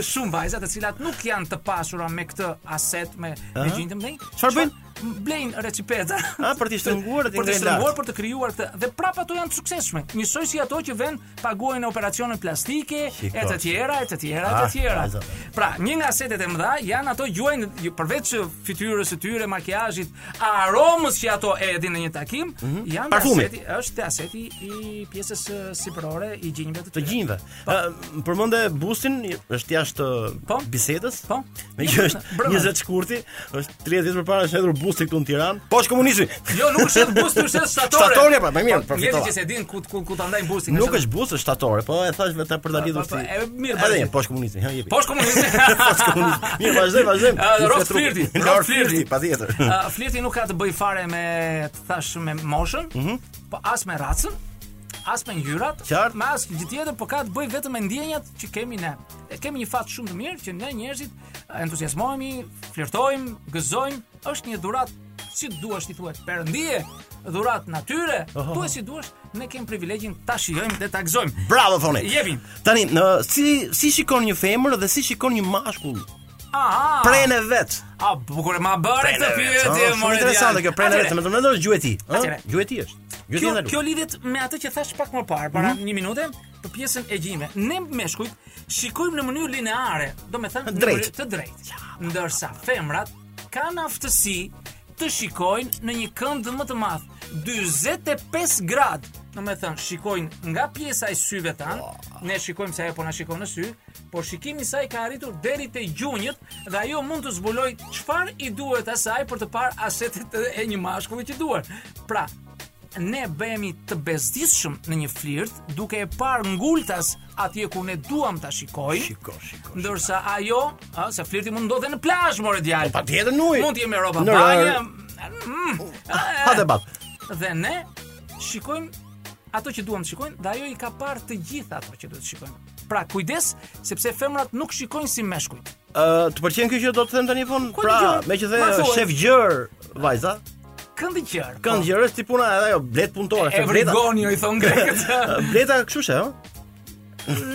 [SPEAKER 3] shumë vajza të cilat nuk janë të pasura me këtë aset me me gjinjë të mëdhenj.
[SPEAKER 6] Çfarë bëjnë?
[SPEAKER 3] Blejnë recipeta.
[SPEAKER 6] A, për t'i shtrënguar dhe t'i
[SPEAKER 3] për të
[SPEAKER 6] ngrenë
[SPEAKER 3] shtrënguar,
[SPEAKER 6] lart.
[SPEAKER 3] për të krijuar këtë dhe prapë ato janë të suksesshme. Njësoj si ato që vën paguajnë operacione plastike
[SPEAKER 6] Shiko.
[SPEAKER 3] e të tjera, e të tjera, e
[SPEAKER 6] Ah,
[SPEAKER 3] të tjera.
[SPEAKER 6] vajza.
[SPEAKER 3] Pra, një nga setet e mëdha janë ato gjuajnë ju- përveç fytyrës së tyre, makiazhit, aromës që ato e hedhin në një takim,
[SPEAKER 6] Mhm.
[SPEAKER 3] janë dhe
[SPEAKER 6] Parfumi.
[SPEAKER 3] aseti, është dhe aseti i pjesës eh, sipërore i gjinjve të
[SPEAKER 6] të
[SPEAKER 3] tyre.
[SPEAKER 6] gjinjve. Ë, Përmende bustin, është jashtë eh,
[SPEAKER 3] Po.
[SPEAKER 6] bisedës.
[SPEAKER 3] Po.
[SPEAKER 6] Me që është
[SPEAKER 3] Bravo.
[SPEAKER 6] 20 shkurti, është 30 vjet përpara është hedhur busti këtu në Tiranë. Po është komunizmi.
[SPEAKER 3] Jo, nuk është bus, nuk është shtatore.
[SPEAKER 6] Shtatore, pra, më mirë,
[SPEAKER 3] Po, njerëzit
[SPEAKER 6] përfitova.
[SPEAKER 3] që se din ku ku ku ta ndajnë busin.
[SPEAKER 6] Nuk
[SPEAKER 3] nga
[SPEAKER 6] është bus, është shtatore, po e thash vetë për ta lidhur
[SPEAKER 3] Po, po,
[SPEAKER 6] si.
[SPEAKER 3] e, mirë,
[SPEAKER 6] Edhe
[SPEAKER 3] vazhdim.
[SPEAKER 6] një, po është komunizmi, ha jepi.
[SPEAKER 3] Po është komunizmi.
[SPEAKER 6] Mirë, po, vazhdojmë, vazhdojmë.
[SPEAKER 3] Ah,
[SPEAKER 6] Nga
[SPEAKER 3] Rof
[SPEAKER 6] trupi.
[SPEAKER 3] Flirti,
[SPEAKER 6] Nga
[SPEAKER 3] Rof
[SPEAKER 6] Rof
[SPEAKER 3] Flirti.
[SPEAKER 6] patjetër.
[SPEAKER 3] Ë, Ah, flirti nuk ka të bëj fare me të thash me moshën, po as me racën, as me ngjyrat,
[SPEAKER 6] Mhm. Qartë.
[SPEAKER 3] me as gjë tjetër, po ka të bëj vetëm me ndjenjat që kemi ne. E kemi një fat shumë të mirë që ne njerëzit ë, entuziazmohemi, flirtojmë, gëzojmë, është një dhuratë si duash ti thuaj, perëndie, dhurat natyre, thuaj si duash, ne kemi privilegjin ta shijojmë dhe ta gëzojmë.
[SPEAKER 6] Bravo thoni.
[SPEAKER 3] Jepin.
[SPEAKER 6] Tani, në, si si shikon një femër dhe si shikon një mashkull?
[SPEAKER 3] Ah. Aha.
[SPEAKER 6] Prene vet.
[SPEAKER 3] A bukur ma bëre
[SPEAKER 6] Prene
[SPEAKER 3] këtë
[SPEAKER 6] vet.
[SPEAKER 3] pyetje,
[SPEAKER 6] Ëh,
[SPEAKER 3] more
[SPEAKER 6] Shumë interesante
[SPEAKER 3] djalë.
[SPEAKER 6] kjo prene
[SPEAKER 3] Atëre,
[SPEAKER 6] vet, më të mendosh gjueti,
[SPEAKER 3] Atëre.
[SPEAKER 6] ëh? Gjueti është. Gjueti
[SPEAKER 3] Kjo,
[SPEAKER 6] ndalu.
[SPEAKER 3] kjo lidhet me atë që thash pak më parë, para një minute, për pjesën e gjime. Ne meshkujt shikojmë në mënyrë lineare, do me thënë në
[SPEAKER 6] Drejt.
[SPEAKER 3] mënyrë të drejtë. Ndërsa femrat kanë aftësi të shikojnë në një këndë më të madh, 45 gradë. Do me thënë, shikojnë nga pjesa e syve tanë, ne shikojmë se ajo po na shikon në sy, por shikimi i saj ka arritur deri te gjunjët dhe ajo mund të zbuloj çfarë i duhet asaj për të parë asetet e një mashkulli që duan. Pra, ne bëhemi të bezdisshëm në një flirt duke e parë ngultas atje ku ne duam ta shikojmë.
[SPEAKER 6] Shiko, shiko.
[SPEAKER 3] Po, Ndërsa ajo, ë, se flirti mund ndodhe në plazh, more djalë.
[SPEAKER 6] Po, Patjetër nuj.
[SPEAKER 3] Mund të jemi në roba
[SPEAKER 6] Në
[SPEAKER 3] banje.
[SPEAKER 6] rër.
[SPEAKER 3] mm,
[SPEAKER 6] Ha debat.
[SPEAKER 3] Dhe ne shikojmë ato që duam të shikojnë dhe ajo i ka parë të gjitha ato që duhet të shikojmë. Pra kujdes sepse femrat nuk shikojnë si meshkujt.
[SPEAKER 6] Ë, të pëlqen kjo që do të them tani fon?
[SPEAKER 3] Ku e
[SPEAKER 6] Pra,
[SPEAKER 3] dëgjova?
[SPEAKER 6] me që the
[SPEAKER 3] Ma thuaj.
[SPEAKER 6] shef gjër vajza,
[SPEAKER 3] Këndi qërë.
[SPEAKER 6] kënd gjërës ti puna edhe ajo blet punëtore, se bleta.
[SPEAKER 3] Evrigoni i thon grekët.
[SPEAKER 6] Ë, Bleta kështu she, ëh?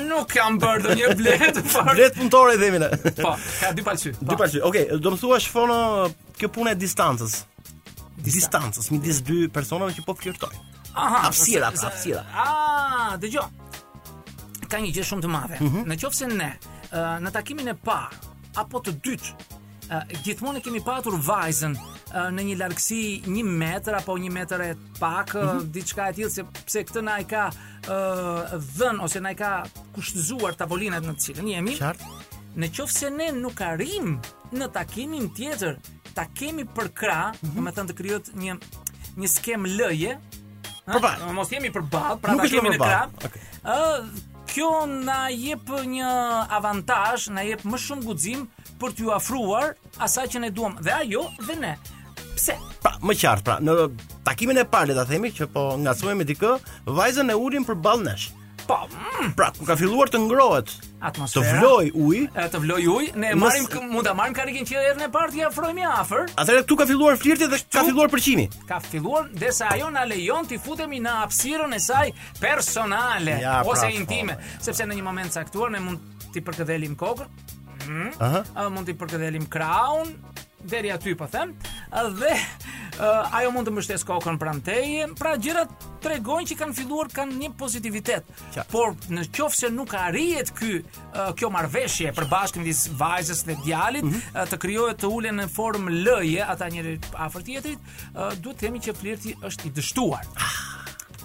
[SPEAKER 3] nuk kam bërë ndonjë bletë fare.
[SPEAKER 6] Blet punëtore i themin. ne.
[SPEAKER 3] Po, ka dy palsy.
[SPEAKER 6] Dy parë. Okej, do më thuash fono kjo puna e distancës. Distancës midis dy personave që po flirtojnë.
[SPEAKER 3] Aha,
[SPEAKER 6] Hapësira,
[SPEAKER 3] se-
[SPEAKER 6] pra, hapësira.
[SPEAKER 3] Ah, dëgjoj. Ka
[SPEAKER 6] Mhm.
[SPEAKER 3] një gjë shumë të madhe. Në qoftë se ne ë, në takimin e parë apo të dytë Ë, gjithmonë e kemi patur vajzën ë, në një largësi 1 metër apo 1 metër e pak, ë,
[SPEAKER 6] Mhm.
[SPEAKER 3] diçka e tillë se pse këtë na i ka ë, dhën ose na i ka kushtëzuar tavolinat në të cilën jemi.
[SPEAKER 6] Qartë.
[SPEAKER 3] Në qoftë se ne nuk arrim në takimin tjetër, ta kemi për krah,
[SPEAKER 6] Mhm.
[SPEAKER 3] domethënë të krijohet një një skem lëje, ha?
[SPEAKER 6] Përballë.
[SPEAKER 3] Ë, mos jemi përballë, pra
[SPEAKER 6] Nuk
[SPEAKER 3] ta
[SPEAKER 6] është
[SPEAKER 3] kemi në krah.
[SPEAKER 6] përballë. Okej.
[SPEAKER 3] Ë kjo na jep një avantazh, na jep më shumë guxim për t'ju afruar asaj që ne duam, dhe ajo dhe ne. Pse?
[SPEAKER 6] Pra, më qartë, pra, në takimin e parë le ta themi që po ngacmohemi me dikë, vajzën e ulim përballë nesh.
[SPEAKER 3] Po, mm,
[SPEAKER 6] Pra, kur ka filluar të ngrohet, të
[SPEAKER 3] atmosfera.
[SPEAKER 6] vloj uji,
[SPEAKER 3] Ë, të vloj ujë, ne e
[SPEAKER 6] Mos-
[SPEAKER 3] marrim kë- mund ta marrim karikën që herën e parë t'i afrohemi afër.
[SPEAKER 6] atëherë këtu ka filluar flirti dhe ka filluar përqimi.
[SPEAKER 3] ka filluar derisa ajo na lejon ti futemi në hapësirën e saj personale
[SPEAKER 6] Ja, pra,
[SPEAKER 3] ose
[SPEAKER 6] po,
[SPEAKER 3] intime, sepse në një moment caktuar ne mund ti përkëdhelim kokën,
[SPEAKER 6] Aha.
[SPEAKER 3] a, mund ti përkëdhelim kraun deri aty po them, a, dhe a, ajo mund të mbështes kokën pranë teje, pra gjërat tregojnë që kanë filluar kanë një pozitivitet.
[SPEAKER 6] Qa-
[SPEAKER 3] Por në qoftë se nuk arrihet ky ë, kjo marrëveshje përbashkë midis vajzës dhe djalit, ë, të krijohet të ulen në formë lëje, ata njëri afër tjetrit, ë, duhet të themi që flirti është i dështuar.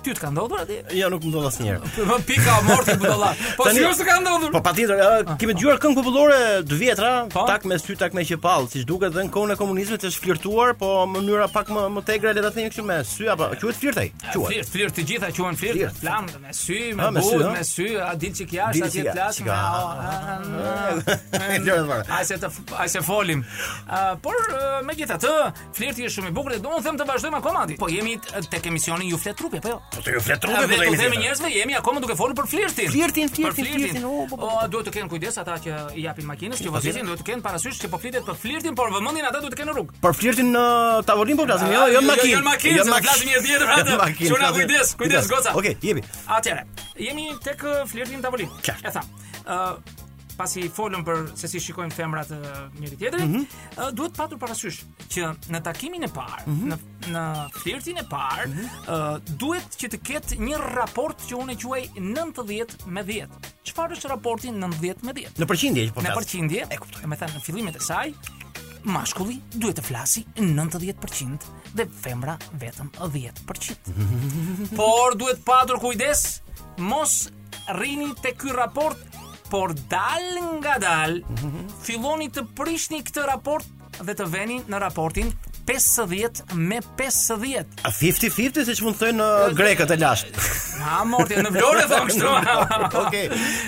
[SPEAKER 3] Ty të ka ndodhur atë?
[SPEAKER 6] Jo, nuk më ndodh asnjëherë.
[SPEAKER 3] Pika morti budallar. Po
[SPEAKER 6] Tani-
[SPEAKER 3] sigurisht të ka ndodhur. Ah,
[SPEAKER 6] Po patjetër, ë, kemi dëgjuar këngë popullore të vjetra,
[SPEAKER 3] Po.
[SPEAKER 6] tak me sy, tak me qepall, siç duket edhe në kohën e komunizmit është flirtuar, po në mënyra pak më më tegre le ta themi kështu me sy apo quhet flirtaj. Quhet.
[SPEAKER 3] Flirt, flirt të gjitha quhen
[SPEAKER 6] Flirt.
[SPEAKER 3] flirt, flam me sy, me
[SPEAKER 6] Ah, me sy,
[SPEAKER 3] buzë,
[SPEAKER 6] ha?
[SPEAKER 3] me sy, a dil çik jashtë,
[SPEAKER 6] Dil
[SPEAKER 3] a
[SPEAKER 6] çik
[SPEAKER 3] ti flas
[SPEAKER 6] jashtë,
[SPEAKER 3] me.
[SPEAKER 6] ka. Flirtë e
[SPEAKER 3] Ai se të f- ai se folim. Ah, por eh, megjithatë, flirti është shumë i bukur dhe do të them të vazhdojmë akoma aty. Po jemi t- tek emisioni ju flet trupi, apo jo?
[SPEAKER 6] Po të flet
[SPEAKER 3] A,
[SPEAKER 6] trupi
[SPEAKER 3] Dhe
[SPEAKER 6] po
[SPEAKER 3] do
[SPEAKER 6] të
[SPEAKER 3] të themi njerëzve, jemi akoma duke folur për flirtin.
[SPEAKER 6] Flirtin, flirtin,
[SPEAKER 3] Për
[SPEAKER 6] flirtin, o, po, po,
[SPEAKER 3] O, duhet të kenë kujdes ata që i japin makinës, që vështirën duhet të kenë parasysh që po flitet për flirtin, por vëmendjen ata duhet të kenë në rrugë.
[SPEAKER 6] Për flirtin në tavolinë po flasim, jo, jo në makinë.
[SPEAKER 3] Jo në makinë, se
[SPEAKER 6] makinë.
[SPEAKER 3] flasim një tjetër
[SPEAKER 6] Jo në
[SPEAKER 3] atë.
[SPEAKER 6] makinë,
[SPEAKER 3] Quna,
[SPEAKER 6] flasim-
[SPEAKER 3] kujdes, kujdes, goca.
[SPEAKER 6] Okej, jepi.
[SPEAKER 3] Atëre, jemi tek uh, flirtin tavolinë.
[SPEAKER 6] Qartë.
[SPEAKER 3] E tham. Ë pasi folëm për se si shikojmë femrat uh, njëri tjetrin, ë, duhet patur parasysh që në takimin e parë, në në flirtin e parë, ë, duhet që të ketë një raport që unë e quaj 90 me 10. Çfarë është raporti 90 me 10?
[SPEAKER 6] Në përqindje që po
[SPEAKER 3] Në
[SPEAKER 6] flas.
[SPEAKER 3] përqindje,
[SPEAKER 6] E kuptoj.
[SPEAKER 3] me thënë në fillimet e saj, mashkulli duhet të flasi 90% dhe femra vetëm 10%. por duhet patur kujdes, mos rrini te ky raport, por dal nga dal, filloni të prishni këtë raport dhe të veni në raportin 50 me 50.
[SPEAKER 6] A 50-50 siç mund të thonë uh, grekët e lashtë.
[SPEAKER 3] Ha, morti, në Vlorë e thonë kështu.
[SPEAKER 6] Okej,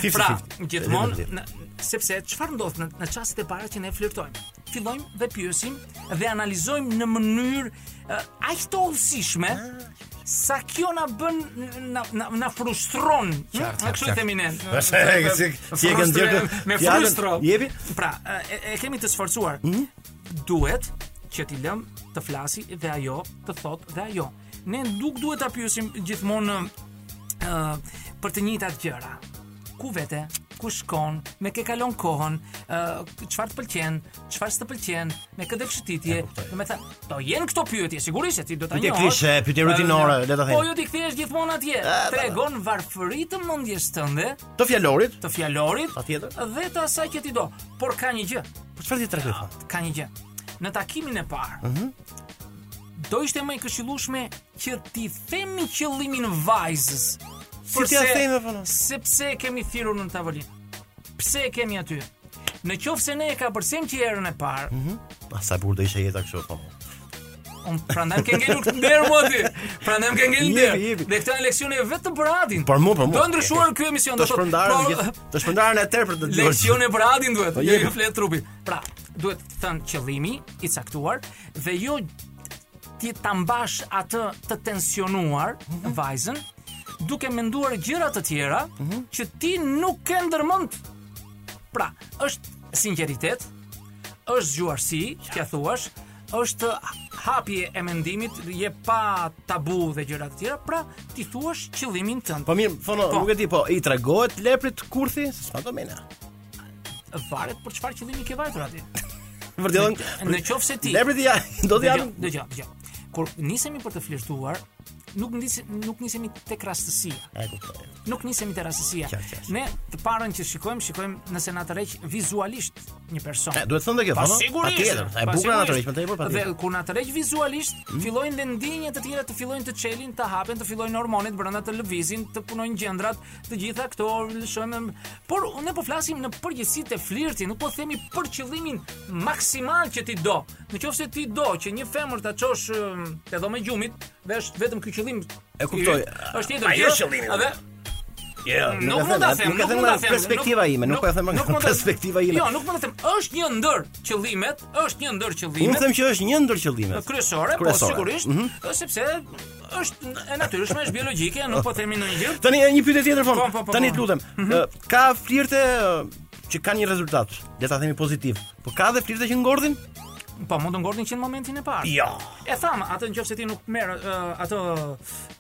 [SPEAKER 6] 50-50.
[SPEAKER 3] Pra,
[SPEAKER 6] Dhe
[SPEAKER 3] gjithmonë,
[SPEAKER 6] në
[SPEAKER 3] në- sepse çfarë ndodh në, në çastet e para që ne flirtojmë? Fillojmë dhe pyesim dhe analizojmë në mënyrë uh, aq të ulësishme sa kjo na bën na na, na frustron. Hm?
[SPEAKER 6] Qartë,
[SPEAKER 3] Kështu
[SPEAKER 6] qartë.
[SPEAKER 3] i themi ne.
[SPEAKER 6] Është si si e kanë
[SPEAKER 3] Frustre-
[SPEAKER 6] dhënë
[SPEAKER 3] me
[SPEAKER 6] fjalën,
[SPEAKER 3] frustro.
[SPEAKER 6] Jepi. Mhm.
[SPEAKER 3] Pra, e, e kemi të sforcuar. Duhet që t'i lëm të flasi dhe ajo të thot dhe ajo. Ne nuk duhet ta pyesim gjithmonë ë, për të njëjtat gjëra. Ku vete? ku shkon, me ke kalon kohën, ë, çfarë të pëlqen, çfarë s'të pëlqen, me këtë fshititje. Do të thënë, do jenë këto pyetje, sigurisht se ti do ta
[SPEAKER 6] Pyetje
[SPEAKER 3] njohësh.
[SPEAKER 6] klishe, pyetje rutinore,
[SPEAKER 3] Ë,
[SPEAKER 6] le ta Ah,
[SPEAKER 3] Po
[SPEAKER 6] themi.
[SPEAKER 3] ju ti kthehesh gjithmonë atje. Tregon varfëri të mendjes tënde,
[SPEAKER 6] Të fjalorit,
[SPEAKER 3] të fjalorit
[SPEAKER 6] Patjetër.
[SPEAKER 3] dhe të asaj që ti do. Por ka një gjë,
[SPEAKER 6] po çfarë ti tregoj? fa?
[SPEAKER 3] ka një gjë. Në takimin e parë,
[SPEAKER 6] Mhm.
[SPEAKER 3] do ishte më e këshillueshme që ti themi qëllimin vajzës.
[SPEAKER 6] Si t'ja
[SPEAKER 3] Përse-
[SPEAKER 6] themi, po, no?
[SPEAKER 3] Sepse e kemi thirrur në tavolinë. Pse e kemi aty? Në qoftë se ne e ka përsem që herën e parë,
[SPEAKER 6] Ah, sa e bukur do ishte jeta kështu po.
[SPEAKER 3] unë prandaj më ke ngelur këtë derë mua ti. Prandaj më ke ngelur
[SPEAKER 6] Jepi,
[SPEAKER 3] derë.
[SPEAKER 6] jepi.
[SPEAKER 3] Dhe këtë leksion e vetëm për Adin.
[SPEAKER 6] Për mua, për mua.
[SPEAKER 3] Do ndryshuar ky emision
[SPEAKER 6] Të
[SPEAKER 3] do thotë,
[SPEAKER 6] shpërndarën
[SPEAKER 3] po,
[SPEAKER 6] gjithë, të shpërndarën e tërë për të dëgjuar.
[SPEAKER 3] Leksione për Adin duhet,
[SPEAKER 6] Po,
[SPEAKER 3] jo
[SPEAKER 6] jepi.
[SPEAKER 3] ju flet trupi. Pra, duhet të thënë qëllimi i caktuar dhe jo ti ta mbash atë të tensionuar
[SPEAKER 6] Mhm.
[SPEAKER 3] vajzën duke menduar gjëra të tjera
[SPEAKER 6] Mhm.
[SPEAKER 3] që ti nuk ke ndërmend. Pra, është sinqeritet, është zgjuarsi, t'ia thuash, është hapje e mendimit, je pa tabu dhe gjëra të tjera, pra ti thuash qëllimin tënd.
[SPEAKER 6] Po mirë, thonë,
[SPEAKER 3] Po.
[SPEAKER 6] nuk e di, po i tregohet leprit kurthi, se s'ka domena.
[SPEAKER 3] Varet për çfarë qëllimi ke vajtur aty.
[SPEAKER 6] Vërtetën.
[SPEAKER 3] Në qoftë se ti
[SPEAKER 6] Leprit ja, do të
[SPEAKER 3] Dëgjoj,
[SPEAKER 6] jam.
[SPEAKER 3] dëgjoj, dëgjoj. Kur nisemi për të flirtuar, nuk nisemi nuk nisemi tek rastësia.
[SPEAKER 6] E kuptoj.
[SPEAKER 3] Nuk nisemi te rastësia.
[SPEAKER 6] Qartë, qartë.
[SPEAKER 3] Ne të parën që shikojmë, shikojmë nëse na tërheq vizualisht një person.
[SPEAKER 6] E, duhet thënë dhe kjo,
[SPEAKER 3] Pa
[SPEAKER 6] po, no?
[SPEAKER 3] sigurisht.
[SPEAKER 6] Patjetër, e
[SPEAKER 3] pa
[SPEAKER 6] bukur na
[SPEAKER 3] sigurisht.
[SPEAKER 6] tërheq, më tepër, Mhm. patjetër.
[SPEAKER 3] Dhe kur na tërheq vizualisht, fillojnë dhe ndjenjat të tjera të fillojnë të çelin, të hapen, të fillojnë hormonet brenda të lëvizin, të punojnë gjendrat, të gjitha këto lëshojmë. Por ne po flasim në përgjithësi të flirti, nuk po themi për qëllimin maksimal që ti do. Në qoftë se ti do që një femër ta çosh ëm, te dhoma e gjumit dhe është vetëm ky qëllim.
[SPEAKER 6] E kuptoj.
[SPEAKER 3] Është tjetër
[SPEAKER 6] Ai
[SPEAKER 3] gjë.
[SPEAKER 6] është qëllimi,
[SPEAKER 3] Edhe
[SPEAKER 6] Jo,
[SPEAKER 3] nuk mund ta them,
[SPEAKER 6] nuk e them nga perspektiva ime, nuk po e them nga
[SPEAKER 3] mund ta-
[SPEAKER 6] perspektiva ime.
[SPEAKER 3] Jo, nuk mund ta them. Është një ndër qëllimet, është një ndër qëllimet.
[SPEAKER 6] Unë them që është një ndër qëllimet.
[SPEAKER 3] Kryesore, po
[SPEAKER 6] Kryesore. Mhm.
[SPEAKER 3] sigurisht, sepse është e natyrshme, është biologjike, nuk po themi ndonjë gjë.
[SPEAKER 6] Tani e, një pyetje tjetër fon.
[SPEAKER 3] Po, po, po,
[SPEAKER 6] Tani
[SPEAKER 3] po.
[SPEAKER 6] të lutem, ë, ka flirte ë, që kanë një rezultat, le ta themi pozitiv. Po ka dhe flirte që ngordhin?
[SPEAKER 3] Po mund të ngordhin që në momentin e parë.
[SPEAKER 6] Jo.
[SPEAKER 3] E tham, atë nëse ti nuk merr uh, atë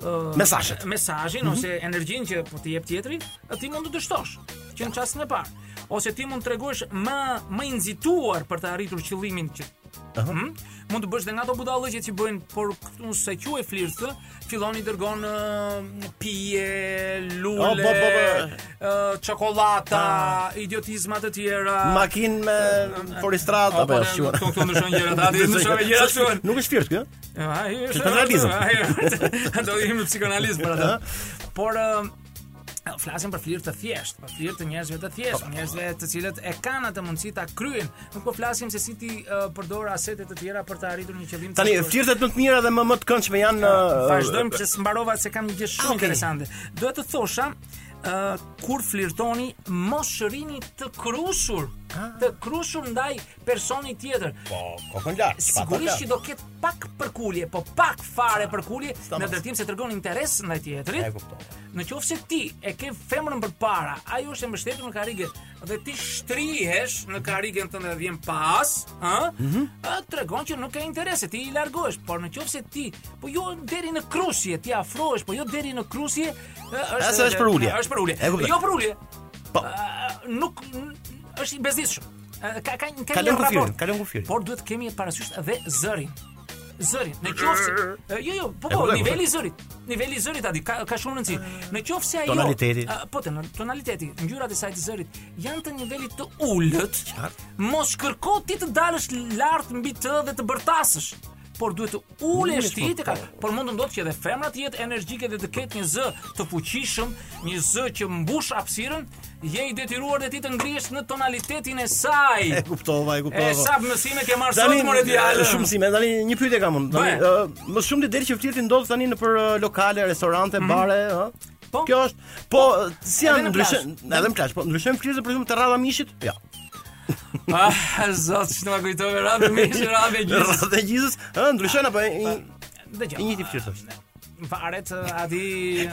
[SPEAKER 3] uh,
[SPEAKER 6] Mesazhet.
[SPEAKER 3] mesazhin ose energjinë që po ti jep tjetri, ti mund të dështosh që në çastin e parë. Ose ti mund të tregosh më më i nxituar për të arritur qëllimin që Mhm. Mund të bësh dhe nga ato budallëqe që bëjnë, por këtu sa quaj flirt, thë, fillon i dërgon ë, pije, lule,
[SPEAKER 6] O, po, po, po.
[SPEAKER 3] ë, çokolata, idiotizma të tjera.
[SPEAKER 6] Makin me foristrat
[SPEAKER 3] Po,
[SPEAKER 6] apo jo?
[SPEAKER 3] po,
[SPEAKER 6] është
[SPEAKER 3] ne- këto- këto ndryshojnë gjërat, ati ndryshojnë
[SPEAKER 6] Ndryshojnë-
[SPEAKER 3] gjërat, shkruan.
[SPEAKER 6] Nuk është flirt kjo?
[SPEAKER 3] Ah, Ai është
[SPEAKER 6] Psikanalizëm.
[SPEAKER 3] ai është- Do të jemi psikanalist për atë. Por ë, flasim për flirt të thjesht, për flirt të njerëzve të thjesht, njerëzve të cilët e kanë atë mundësi ta kryen. Nuk po flasim se si ti ë, përdor asete të tjera për të arritur një qëllim.
[SPEAKER 6] Tani
[SPEAKER 3] caktuar.
[SPEAKER 6] flirtet më të mira dhe më më të këndshme janë ë,
[SPEAKER 3] Vazhdojmë që s'mbarova se kam një gjë shumë
[SPEAKER 6] Ah, okay.
[SPEAKER 3] interesante. Duhet të thosha Uh, kur flirtoni mos shërini të krushur
[SPEAKER 6] Ah.
[SPEAKER 3] të krushur ndaj personit tjetër
[SPEAKER 6] Po, kokën lart.
[SPEAKER 3] Sigurisht që do ketë pak përkulje, po pak fare përkulje në drejtim se tregon interes ndaj
[SPEAKER 6] E
[SPEAKER 3] tjetrit.
[SPEAKER 6] kuptoj.
[SPEAKER 3] Në qoftë se ti e ke femrën përpara, ajo është e mbështetur në karrige dhe ti shtrihesh në karrigen tënde dhe vjen pas, ë,
[SPEAKER 6] Mhm.
[SPEAKER 3] ë, tregon që nuk ke interes, ti i largohesh, por në qoftë se ti, po jo deri në krusje, ti afrohesh, po jo deri në krusje, ë, është
[SPEAKER 6] Asa është për ulje.
[SPEAKER 3] Është për ulje.
[SPEAKER 6] E kuptoj.
[SPEAKER 3] Jo për ulje.
[SPEAKER 6] Po.
[SPEAKER 3] Ë, nuk n- është i bezdisshëm. Ë, Ka ka ka një
[SPEAKER 6] Kalon kufirin,
[SPEAKER 3] raport.
[SPEAKER 6] kalon kufirin.
[SPEAKER 3] Por duhet të kemi parasysh edhe zërin. Zërin. Në qoftë se- e, jo jo, po
[SPEAKER 6] E
[SPEAKER 3] po,
[SPEAKER 6] kuptoj,
[SPEAKER 3] niveli i zërit. Niveli i zërit aty ka ka shumë rëndësi. Në qoftë se ajo
[SPEAKER 6] Tonaliteti.
[SPEAKER 3] A, po të tonaliteti, ngjyrat e saj të zërit janë të nivelit të ulët. Mos kërko ti të dalësh lart mbi të dhe të bërtasësh por duhet të ulesh ti
[SPEAKER 6] po,
[SPEAKER 3] tek por mund të ndodhë që edhe femra të jetë energjike dhe të ketë një zë të fuqishëm, një zë që mbush hapësirën, je i detyruar dhe ti të ngrihesh në tonalitetin e saj.
[SPEAKER 6] E kuptova, e kuptova.
[SPEAKER 3] E sa mësime ke marrë
[SPEAKER 6] Tani
[SPEAKER 3] sot more djalë.
[SPEAKER 6] shumë si, më tani një pyetje kam unë.
[SPEAKER 3] Bëj.
[SPEAKER 6] Tani ë, më shumë të del që flirti ndodh tani në për ë, lokale, restorante, bare, ë.
[SPEAKER 3] Mhm. Po.
[SPEAKER 6] Kjo është, po, ë, si
[SPEAKER 3] Edhe
[SPEAKER 6] janë
[SPEAKER 3] në
[SPEAKER 6] ndryshën,
[SPEAKER 3] plazh.
[SPEAKER 6] edhe në plazh, po ndryshojmë flirtin për shembull te rradha mishit? Jo.
[SPEAKER 3] Ah, zot, ç'të ma kujtove radhë me radhë gjithë.
[SPEAKER 6] Rradha e gjithës, ë, ndryshon apo i i
[SPEAKER 3] Dëgjoj.
[SPEAKER 6] njëjti flirt është?
[SPEAKER 3] Varet eh, aty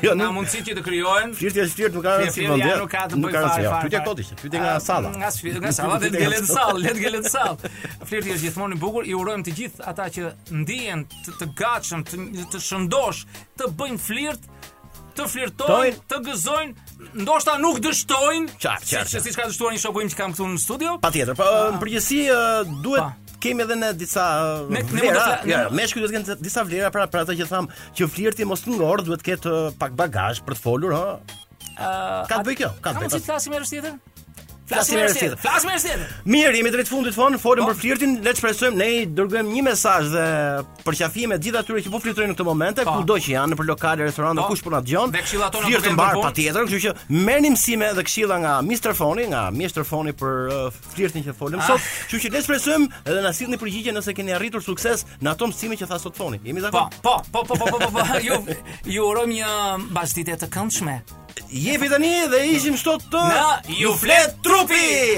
[SPEAKER 6] Jo,
[SPEAKER 3] nga
[SPEAKER 6] nuk-
[SPEAKER 3] mundësitë që të krijohen.
[SPEAKER 6] Flirti është flirt, nuk ka rëndësi
[SPEAKER 3] Flirti,
[SPEAKER 6] vende.
[SPEAKER 3] ja, nuk ka të bëj
[SPEAKER 6] rëndësi,
[SPEAKER 3] fare,
[SPEAKER 6] jo.
[SPEAKER 3] fare,
[SPEAKER 6] Pyetja
[SPEAKER 3] fare.
[SPEAKER 6] kot ishte, pyetje nga
[SPEAKER 3] A,
[SPEAKER 6] salla.
[SPEAKER 3] Nga sfi- nga salla dhe
[SPEAKER 6] Pyetje nga
[SPEAKER 3] gelet në
[SPEAKER 6] salla.
[SPEAKER 3] sallë, let gelet në sallë. Flirti është gjithmonë i bukur, i urojmë të gjithë ata që ndihen të, të gatshëm, të, të shëndosh, të bëjnë flirt, të flirtojnë,
[SPEAKER 6] Tojnë.
[SPEAKER 3] të gëzojnë, ndoshta nuk dështojnë.
[SPEAKER 6] Qartë, qartë,
[SPEAKER 3] Si
[SPEAKER 6] qartë.
[SPEAKER 3] siç ka dështuar një shoku im që kam këtu në studio.
[SPEAKER 6] Patjetër, po ë, në përgjithësi ë,
[SPEAKER 3] Ah. Pa.
[SPEAKER 6] duhet kemi edhe në disa ë,
[SPEAKER 3] Ne- ne mund të
[SPEAKER 6] vlera,
[SPEAKER 3] fla-
[SPEAKER 6] ja,
[SPEAKER 3] ne-
[SPEAKER 6] meshkuj duhet të kenë disa vlera pra për atë që tham, që flirti mos të ngor, duhet të ketë ë, pak bagazh për të folur, ha. Ka të bëj kjo, ka
[SPEAKER 3] Ah, Ka
[SPEAKER 6] të
[SPEAKER 3] mundsi
[SPEAKER 6] bëj.
[SPEAKER 3] të flasim herë tjetër?
[SPEAKER 6] Flasim herë tjetër.
[SPEAKER 3] Flasim herë tjetër.
[SPEAKER 6] Mirë, jemi drejt fundit
[SPEAKER 3] Po.
[SPEAKER 6] fon, folëm për flirtin, le të shpresojmë ne i dërgojmë një mesazh dhe përqafime gjithë atyre që po flirtojnë në këtë momente,
[SPEAKER 3] Po.
[SPEAKER 6] kudo që janë, nëpër lokale, restorante,
[SPEAKER 3] Po.
[SPEAKER 6] kush po na dëgjon.
[SPEAKER 3] Dhe këshillat tona
[SPEAKER 6] flirt
[SPEAKER 3] po
[SPEAKER 6] në
[SPEAKER 3] kemi
[SPEAKER 6] bar
[SPEAKER 3] për punë.
[SPEAKER 6] patjetër, kështu që merrni mësime dhe këshilla nga Mr. Foni, nga Mr. Foni për uh, flirtin që
[SPEAKER 3] Ah.
[SPEAKER 6] folëm sot. Kështu që le të shpresojmë edhe na sillni përgjigje nëse keni arritur sukses në ato mësime që tha sot Foni. Jemi
[SPEAKER 3] Po,
[SPEAKER 6] dakord?
[SPEAKER 3] po, po, po, po, po, po, po. Ju ju urojmë një mbasditje të këndshme.
[SPEAKER 6] Jepi tani dhe ishim sot të
[SPEAKER 3] Na ju flet trupi.